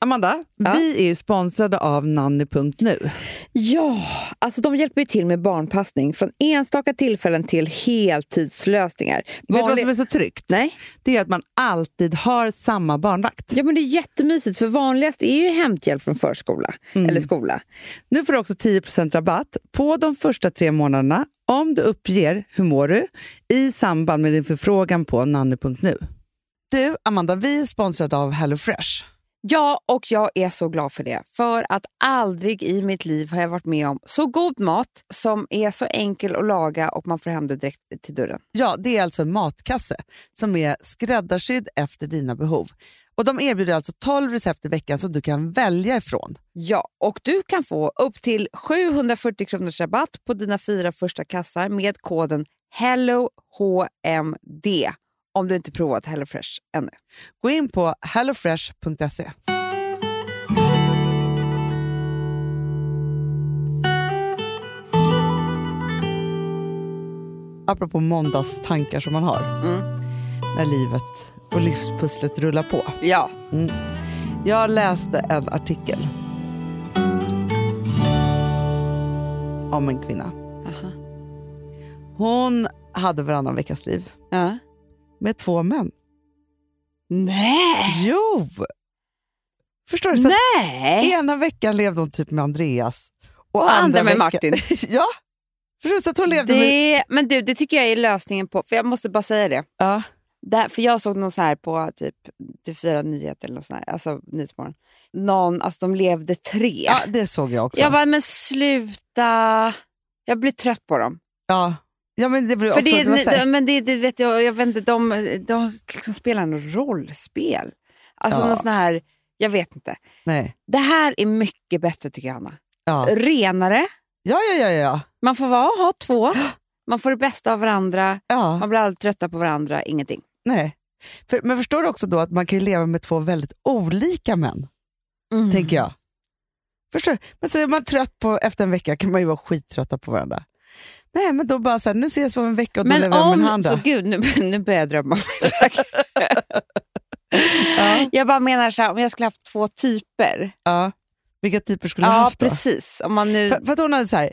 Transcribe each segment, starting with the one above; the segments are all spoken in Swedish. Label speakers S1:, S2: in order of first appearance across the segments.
S1: Amanda,
S2: Ja.
S1: vi är ju sponsrade av nanny.nu.
S2: Ja, alltså de hjälper ju till med barnpassning från enstaka tillfällen till heltidslösningar.
S1: Vet du vad
S2: Vanlig-
S1: som är så tryggt?
S2: Nej.
S1: Det är att man alltid har samma barnvakt.
S2: Ja, men det är jättemysigt, för vanligast är ju hämthjälp från förskola eller skola.
S1: Nu får du också 10 rabatt på de första tre månaderna om du uppger hur mår du i samband med din förfrågan på nanny.nu. Du, Amanda, vi är sponsrade av HelloFresh.
S2: Ja, och jag är så glad för det. För att aldrig i mitt liv har jag varit med om så god mat som är så enkel att laga och man får hem det direkt till dörren.
S1: Ja, det är alltså en matkasse som är skräddarsydd efter dina behov. Och De erbjuder alltså 12 recept i veckan som du kan välja ifrån.
S2: Ja, och du kan få upp till 740 kronors rabatt på dina fyra första kassar med koden HELLOHMD om du inte provat HelloFresh ännu.
S1: Gå in på hellofresh.se. Apropå måndagstankar som man har
S2: Mm.
S1: när livet och livspusslet rullar på.
S2: Ja,
S1: Jag läste en artikel om en kvinna.
S2: Aha.
S1: Hon hade varannan veckas liv
S2: Ja.
S1: med två män.
S2: Nej!
S1: Jo! Förstår du? Så att
S2: Nej!
S1: Ena veckan levde hon typ med Andreas.
S2: Och andra med
S1: veckan-
S2: Martin.
S1: ja, förstår du? Så att hon levde med...
S2: Det, men du, det tycker jag är lösningen på... För jag måste bara säga det.
S1: Ja.
S2: Där, för jag såg någon sån här på typ TV4 Nyheter eller något sån här, alltså Nyhetsmorgon. Någon, alltså de levde tre.
S1: ja, det såg jag också.
S2: jag bara, men sluta. Jag blir trött på dem.
S1: ja. ja, men det blev
S2: För
S1: också...
S2: det,
S1: Det, var så här-
S2: det, men det, det vet jag, jag vet inte, de, de liksom spelar en rollspel. Alltså
S1: Ja.
S2: någon sån här, jag vet inte.
S1: Nej.
S2: Det här är mycket bättre tycker jag Hanna.
S1: Ja.
S2: Renare,
S1: Ja, ja, ja, ja.
S2: man får vara och ha två. Man får det bästa av varandra,
S1: ja.
S2: man blir aldrig trötta på varandra, ingenting.
S1: Nej. För, men förstår du också då att man kan ju leva med två väldigt olika män,
S2: Mm.
S1: tänker jag. Förstår du? Men så är man trött på, efter en vecka kan man ju vara skittrötta på varandra. Nej, men då bara så här, nu ses vi om en vecka och då
S2: Men
S1: lever jag med
S2: om,
S1: den andra.
S2: för gud nu, nu börjar jag drömma. Jag bara menar så här, om jag skulle haft två typer.
S1: Ja. Vilka typer skulle du ha
S2: Ja,
S1: haft då?
S2: precis. Om man nu...
S1: För, för att hon hade så här,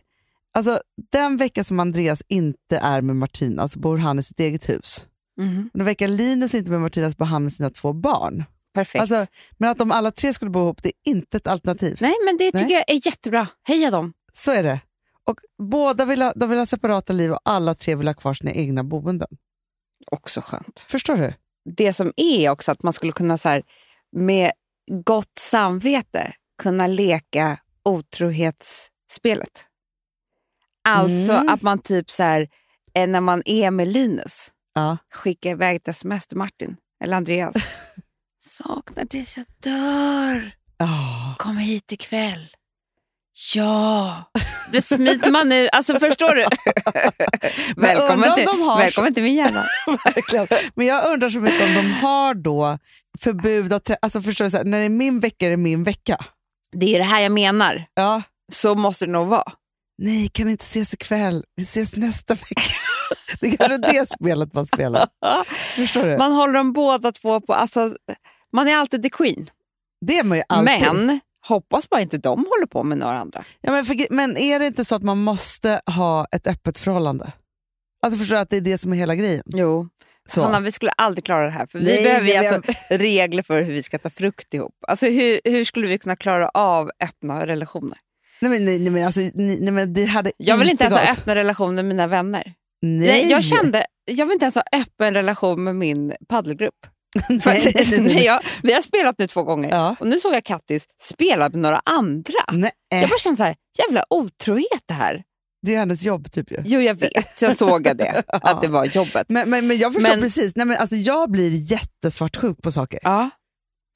S1: alltså den vecka som Andreas inte är med Martina så bor han i sitt eget hus.
S2: Mhm,
S1: Den vecka Linus inte är med Martina så bor han med sina två barn.
S2: perfekt.
S1: Alltså, men att de alla tre skulle bo ihop, det är inte ett alternativ.
S2: Nej, men det tycker
S1: Nej.
S2: jag är jättebra. Heja dem.
S1: Så är det. Och båda vill ha, de vill ha separata liv och alla tre vill ha kvar sina egna boenden.
S2: Också skönt.
S1: Förstår du?
S2: Det som är också att man skulle kunna så här, med gott samvete kunna leka otrohetsspelet. Alltså
S1: Mm.
S2: att man typ så här, eh, när man är med Linus,
S1: Ja.
S2: skicka iväg ett sms till Martin eller Andreas. Saknar dig så jag dör.
S1: Ah.
S2: Kom hit ikväll. Ja! Du smiter man nu. Alltså förstår du?
S1: undrar
S2: välkommen,
S1: om
S2: till,
S1: de har-
S2: välkommen till min hjärna.
S1: Verkligen. Men jag undrar så mycket om de har då förbud att trä- alltså förstår du, så här, när det är min vecka är det min vecka.
S2: Det är ju det här jag menar.
S1: Ja.
S2: Så måste det nog vara.
S1: Nej, kan inte ses ikväll. Vi ses nästa vecka. Det är kanske det spelet man spelar. Förstår du?
S2: Man håller dem båda två på... Alltså, man är alltid the queen.
S1: det är man ju alltid.
S2: Men hoppas bara inte de håller på med några andra.
S1: Ja, men, för, men är det inte så att man måste ha ett öppet förhållande? Alltså förstår du att det är det som är hela grejen?
S2: Jo.
S1: Så.
S2: Hanna, vi skulle aldrig klara det här. För vi
S1: Nej,
S2: behöver ju
S1: jag
S2: alltså regler för hur vi ska ta frukt ihop. Alltså, hur, hur skulle vi kunna klara av öppna relationer?
S1: Nej, men, nej, nej, men, alltså, nej, nej, men det hade
S2: Jag vill inte ens ha
S1: gått.
S2: öppna relationer med mina vänner.
S1: Nej.
S2: Nej, jag kände, jag vill inte ens ha öppen relation med min paddelgrupp. För
S1: Nej, nej, nej, nej.
S2: när jag, vi har spelat nu två gånger
S1: Ja.
S2: och nu såg jag Kattis spela med några andra.
S1: Nej,
S2: Jag bara kände så här, jävla otrohet det här.
S1: det är hennes jobb typ ju.
S2: Jo, jag vet. Jag såg det, att det var jobbet.
S1: Men, men, men jag förstår
S2: Men-
S1: precis. Nej, men, alltså, jag blir jättesvartsjuk på saker.
S2: Ja,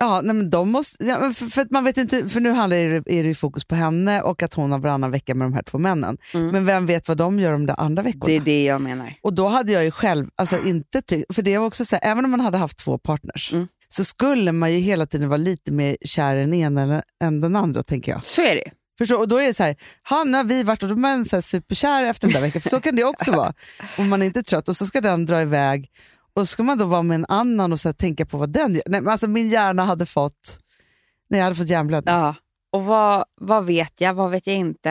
S1: Ja, nej, men de måste, ja, men för, för, att man vet ju inte, för nu handlar det, är det ju fokus på henne och att hon har varannan vecka med de här två männen.
S2: Mm.
S1: Men vem vet vad de gör de där andra veckorna?
S2: det är det jag menar.
S1: Och då hade jag ju själv, alltså inte ty- för det var också så här, även om man hade haft två partners
S2: Mm.
S1: så skulle man ju hela tiden vara lite mer kär i den ena än- än den andra tänker jag.
S2: Så är det.
S1: Förstår? Och då är det så här, "Ha, nu har vi varit och då är man så här superkär efter den där veckan, för så kan det också vara. Om man är inte är trött och så ska den dra iväg och så ska man då vara med en annan och så här, tänka på vad den gör. Nej, men alltså min hjärna hade fått Nej, jag hade fått hjärnblödning.
S2: Ja. Och vad, vad vet jag? Vad vet jag inte?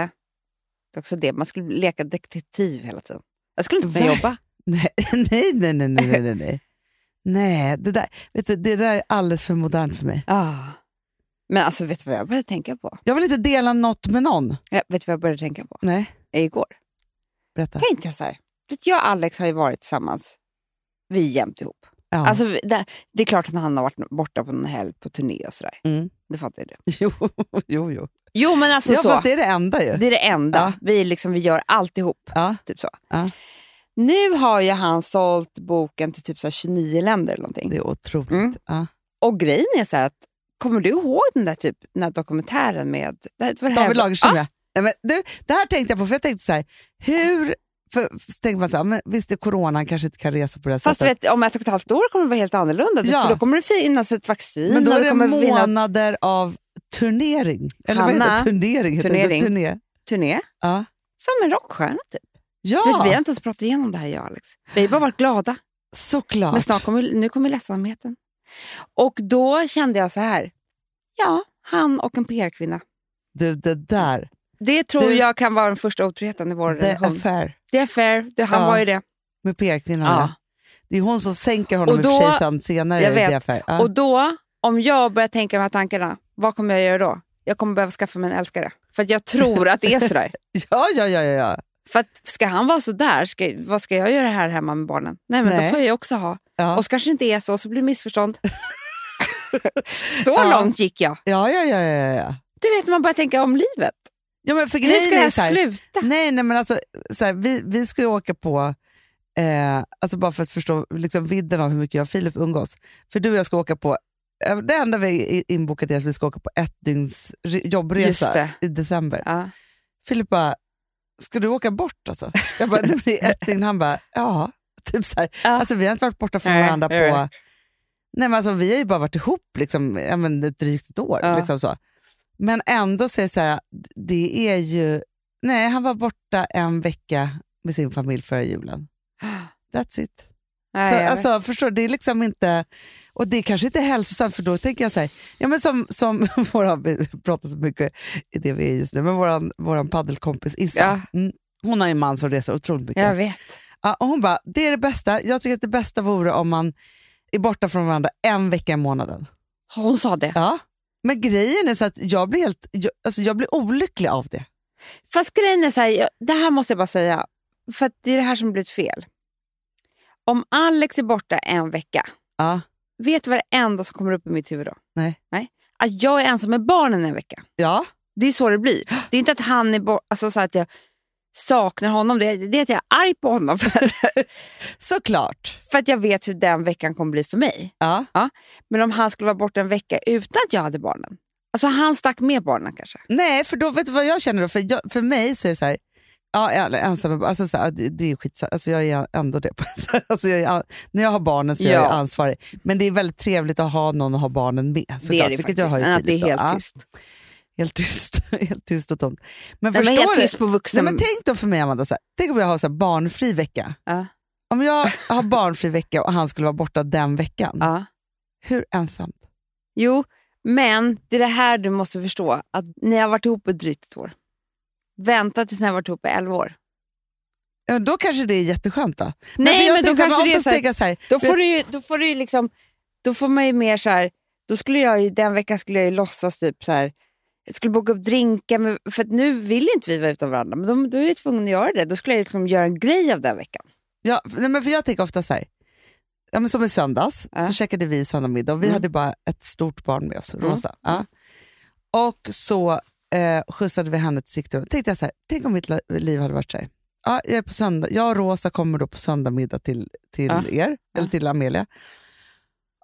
S2: Det är också det. Man skulle leka detektiv hela tiden. Jag skulle inte kunna
S1: Ver-
S2: jobba.
S1: Nej, nej, nej, nej, nej, nej, nej, nej. Nej, det där, vet du, det där är alldeles för modernt för mig.
S2: Ja. Men alltså, vet du vad jag började tänka på?
S1: Jag vill inte dela något med någon.
S2: Ja, vet du vad jag började tänka på?
S1: Nej,
S2: Igår.
S1: berätta.
S2: Tänkte jag så här. Vet du, Jag och Alex har ju varit tillsammans. Vi är jämt ihop.
S1: Ja.
S2: Alltså, vi- det, det är klart att han har varit borta på någon helg på turné och sådär.
S1: Mm.
S2: Det fattar jag.
S1: Jo, jo, jo.
S2: Jo, men alltså
S1: ja,
S2: så.
S1: fast det är det enda ju.
S2: Det är det enda.
S1: Ja.
S2: Vi, liksom, vi gör alltihop.
S1: Ja.
S2: Typ så.
S1: Ja.
S2: Nu har ju han sålt boken till typ så här 29 länder eller någonting.
S1: Det är otroligt.
S2: Mm.
S1: Ja.
S2: Och grejen är så här att, kommer du ihåg den där, typ, den där dokumentären med... Det här, var det här-
S1: David Lagerström,
S2: Ja,
S1: ja. Nej, men du, det här tänkte jag på, för jag tänkte så här, hur... För, för, så tänker man så här, men visst är corona, han kanske inte kan resa på det här
S2: fast du
S1: sättet.
S2: vet, om ett och ett halvt år kommer det vara helt annorlunda.
S1: Ja.
S2: För då kommer det finnas ett vaccin.
S1: Men då
S2: och
S1: är det
S2: kommer finnas
S1: månader av turnering. Eller vad heter
S2: Hanna,
S1: det? Turnering? Heter
S2: turnering.
S1: Det? Turné.
S2: turné.
S1: Ja.
S2: Som en rockstjärna typ. Du vet, vi har
S1: Ja,
S2: inte ens pratat igenom det här jag och Alex. Vi har bara varit glada.
S1: såklart.
S2: Men snart kommer, nu kommer ledsamheten. Och då kände jag så här. Ja, han och en PR-kvinna.
S1: Du, det där.
S2: Det tror
S1: Du-
S2: jag kan vara den första otroheten i vår
S1: The
S2: relation.
S1: affair
S2: Det är fair. Det, han
S1: Ja.
S2: var ju det.
S1: med PR-kvinnan.
S2: Ja.
S1: ja. Det är hon som sänker honom
S2: Och
S1: i och
S2: då-
S1: för sig sen, senare
S2: jag
S1: i The
S2: vet.
S1: affair. Ja.
S2: Och då, om jag börjar tänka de här tankarna, vad kommer jag göra då? Jag kommer behöva skaffa mig en älskare. För att jag tror att det är sådär.
S1: ja, ja, ja, ja, ja.
S2: För att ska han vara sådär, ska, vad ska jag göra här hemma med barnen? Nej, men
S1: Nej.
S2: då får jag också ha.
S1: Ja.
S2: Och så kanske det inte är så, så blir det missförstånd. så
S1: Ja.
S2: långt gick jag.
S1: Ja, ja, ja, ja, ja.
S2: Du vet, man börjar tänka om livet.
S1: ja men för
S2: Hur
S1: grejen
S2: ska
S1: är
S2: det här
S1: så här,
S2: sluta?
S1: Nej, nej men alltså, så här, vi, vi ska ju åka på, eh, alltså bara för att förstå liksom, vidden av hur mycket jag och Filip umgås. För du och jag ska åka på, eh, det enda vi är inbokat är att vi ska åka på ett dygns re-
S2: Just
S1: jobbresa
S2: det.
S1: i december.
S2: Ja.
S1: Filip bara, ska du åka bort alltså? Jag bara, nej, men det är ett dygn. Han bara, ja. Typ så här.
S2: Ja.
S1: Alltså, vi har inte varit borta från
S2: Nej,
S1: varandra på,
S2: jag
S1: nej,
S2: vet.
S1: men alltså, vi har ju bara varit ihop liksom, ja, men ett drygt ett år.
S2: Ja.
S1: Liksom så. Men ändå så är det så här, det är ju, nej han var borta en vecka med sin familj förra julen. That's it.
S2: Nej, jag
S1: Så,
S2: vet.
S1: alltså, förstår, du, det är liksom inte, och det är kanske inte är hälsosamt för då tänker jag så här, ja men som, som våran, vi pratar så mycket i det vi är just nu, men våran, våran paddelkompis Issa, mm, hon har ju en man som reser otroligt mycket.
S2: jag vet.
S1: Ja, och hon bara, det är det bästa, jag tycker att det bästa vore om man är borta från varandra en vecka i månaden.
S2: Hon sa det.
S1: Ja. Men grejen är så att jag blir, helt, jag, alltså jag blir olycklig av det.
S2: Fast grejen är så här, jag- det här måste jag bara säga, för att det är det här som blivit fel. Om Alex är borta en vecka,
S1: Ja,
S2: vet du vad det enda som kommer upp i mitt huvud då?
S1: Nej.
S2: Nej. Att jag är ensam med barnen en vecka.
S1: ja.
S2: Det är så det blir. Det är inte att han är borta, alltså så här att jag saknar honom. Det är, det är att jag är arg på honom för att,
S1: såklart.
S2: för att jag vet hur den veckan kommer bli för mig.
S1: Ja.
S2: Men om han skulle vara borta en vecka utan att jag hade barnen. Alltså han stack med barnen kanske.
S1: Nej, för då vet du vad jag känner då? För, jag, för mig så är det så här, ja, jag är ensam, alltså så här, det, det är skitsamma, alltså jag är ändå det. Alltså jag är, an- när jag har barnen så är jag
S2: Ja.
S1: ansvarig. Men det är väldigt trevligt att ha någon att ha barnen med. Såklart,
S2: det är det
S1: vilket
S2: faktiskt.
S1: jag har i
S2: Nej, det är
S1: Filip då.
S2: helt
S1: Ja,
S2: tyst.
S1: helt tyst. helt tyst och tomt. Men
S2: Nej,
S1: förstår
S2: men helt
S1: du?
S2: tyst på
S1: Nej,
S2: vuxen...
S1: men tänk då för mig Amanda, så här, tänk om jag har så här barnfri vecka.
S2: Ja.
S1: Om jag har barnfri vecka och han skulle vara borta den veckan,
S2: ja.
S1: hur ensamt?
S2: Jo, men det är det här du måste förstå. Att ni har varit ihop i drygt ett år. Vänta tills ni har varit ihop i elva år.
S1: Ja, då kanske det är jätteskönt då. för
S2: Nej,
S1: jag
S2: men då
S1: tänker här,
S2: kanske det är
S1: oftast
S2: så här,
S1: tänker jag så här,
S2: då får du ju, då får du ju liksom, då får man ju mer så här, då skulle jag ju, den veckan skulle jag ju låtsas typ så här, jag skulle boka upp drinkar, men, för att nu vill inte vi vara utan varandra, men då, då är jag tvungen att göra det. Då skulle jag liksom göra en grej av den veckan.
S1: Ja, f- nej, men för jag tänker ofta så här. Ja, men som i söndags
S2: Ja.
S1: så käkade vi söndagmiddag och vi
S2: Mm.
S1: hade bara ett stort barn med oss, Rosa. Ja. Och så eh, skjutsade vi henne till Sigtuna. tänkte jag så här, tänk om mitt la- liv hade varit så här. Ja, jag, är på söndag, jag och Rosa kommer då på söndagmiddag till, till
S2: Ja.
S1: er, eller
S2: Ja.
S1: till Amelia.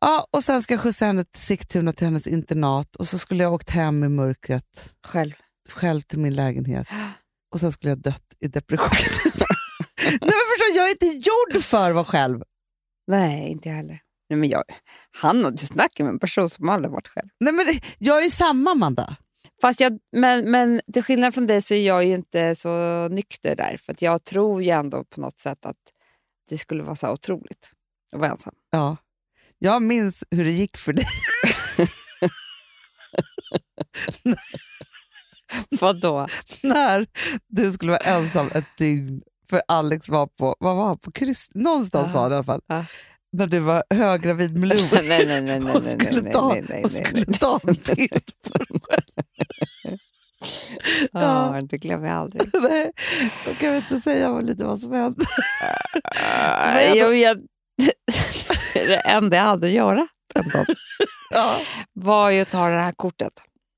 S1: Ja, och sen ska jag skjutsa henne till Sigtuna till hennes internat och så skulle jag ha åkt hem i mörkret
S2: Själv.
S1: själv till min lägenhet och sen skulle jag dött i depression. Nej men förstår, du, jag är inte gjord för att vara själv.
S2: Nej, inte jag heller. Nej, men jag, han, du snackar med en person som aldrig varit själv.
S1: Nej, men det- jag är ju samma Amanda.
S2: Fast jag, men, men till skillnad från dig så är jag ju inte så nykter där. För att jag tror ju ändå på något sätt att det skulle vara så här otroligt att vara ensam.
S1: Ja. Jag minns hur det gick för dig.
S2: Vadå?
S1: när du skulle vara ensam ett dygn, för Alex var på, vad var han, på kryss, någonstans
S2: Ja.
S1: var han i alla fall,
S2: Ja.
S1: när du var höggravid med Lou
S2: nej, nej, nej, nej, nej,
S1: och skulle
S2: nej,
S1: ta,
S2: nej, nej,
S1: och
S2: nej,
S1: skulle
S2: nej.
S1: ta en bild.
S2: Ja, det glömmer jag aldrig.
S1: Nej, jag kan inte säga vad, lite vad som hände.
S2: Nej, jag, jag, det enda jag hade att göra den dagen
S1: Ja.
S2: var ju att ta det här kortet.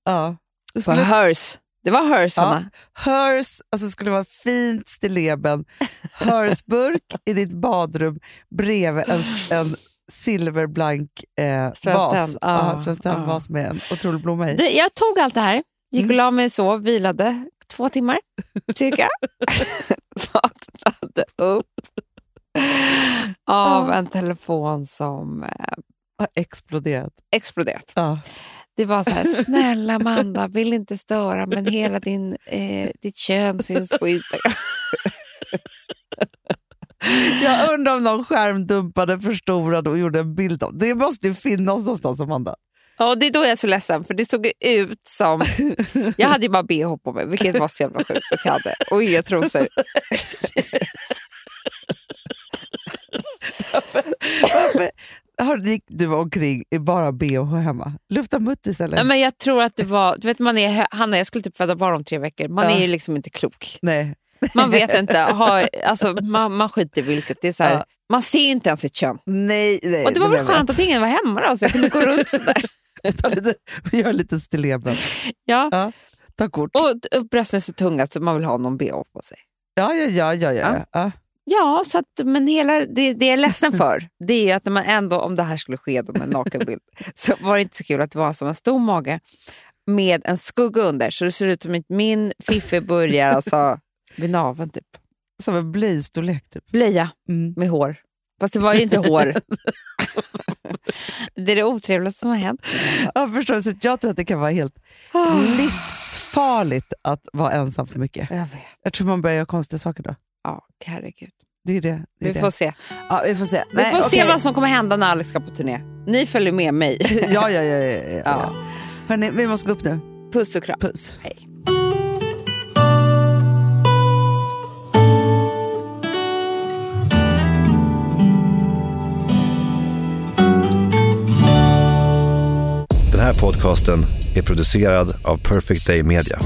S1: Ja. Du
S2: På
S1: skulle,
S2: Hers. Det var Hers,
S1: Ja.
S2: Hanna.
S1: hers, alltså det skulle vara fint stilleben, hörsburk i ditt badrum bredvid en, en silverblank eh,
S2: Svenskt
S1: vas.
S2: Tenn, ja,
S1: Ja, Svenskt
S2: ja.
S1: vas med en otrolig blomma i.
S2: Det, jag tog allt det här, gick och
S1: Mm.
S2: la mig och sov, vilade två timmar cirka. Vaknade upp av
S1: Ja.
S2: en telefon som eh,
S1: Har exploderat.
S2: exploderat.
S1: Ja.
S2: Det var så här, snälla Amanda, vill inte störa, men hela din, eh, ditt kön syns på Instagram.
S1: Jag undrar om någon skärmdumpade, förstorade och gjorde en bild av. Det måste ju finnas någonstans, Amanda.
S2: Ja, och det är då jag är så ledsen, för det såg ju ut som... Jag hade ju bara bh på mig, vilket var så jävla sjukt att jag hade. Och inga trosor.
S1: Hörde, gick du omkring i bara bh hemma? Lufta muttis eller?
S2: Nej, men jag tror att det var... Du vet, man är, hö- Hanna, jag skulle typ föda barn om tre veckor. Man
S1: Ja.
S2: är ju liksom inte klok.
S1: Nej.
S2: Man vet inte. Ha, alltså, man, man skiter i vilket. Det är så här,
S1: Ja.
S2: Man ser ju inte ens sitt kön.
S1: Nej, nej.
S2: Och det var väl
S1: menar jag
S2: skönt att ingen var hemma då, så jag kunde gå runt sådär.
S1: inte. Ta lite, gör lite stilleben.
S2: Ja.
S1: Ja. Ta kort.
S2: Och, och brösten är så tunga så man vill ha någon bh på sig.
S1: Ja, ja, ja. ja, ja. ja.
S2: Ja, så att, men hela, det, det jag är ledsen för det är ju att när man ändå, om det här skulle ske då med en nakenbild så var det inte så kul att det var som en stor mage med en skugga under. Så det ser ut som att min fiffi börjar alltså, vid naveln typ.
S1: Som en blöjstorlek typ.
S2: Blöja
S1: Mm.
S2: med hår. Fast det var ju inte hår. det är det otrevligaste som har hänt.
S1: Ja, förstår du? Så jag tror att det kan vara helt
S2: Ah.
S1: livsfarligt att vara ensam för mycket.
S2: Jag vet.
S1: Jag tror man börjar göra konstiga saker då.
S2: Ja, herregud.
S1: Det är det. det, är
S2: Vi
S1: det.
S2: får se.
S1: Ja, vi får se.
S2: Vi får se
S1: okej.
S2: vad som kommer hända när Alex ska på turné. Ni följer med mig.
S1: ja, ja, ja. ja, ja. ja.
S2: Ja.
S1: Hörni, vi måste gå upp nu.
S2: Puss och kram.
S1: Puss.
S3: Den här podcasten är producerad av Perfect Day Media.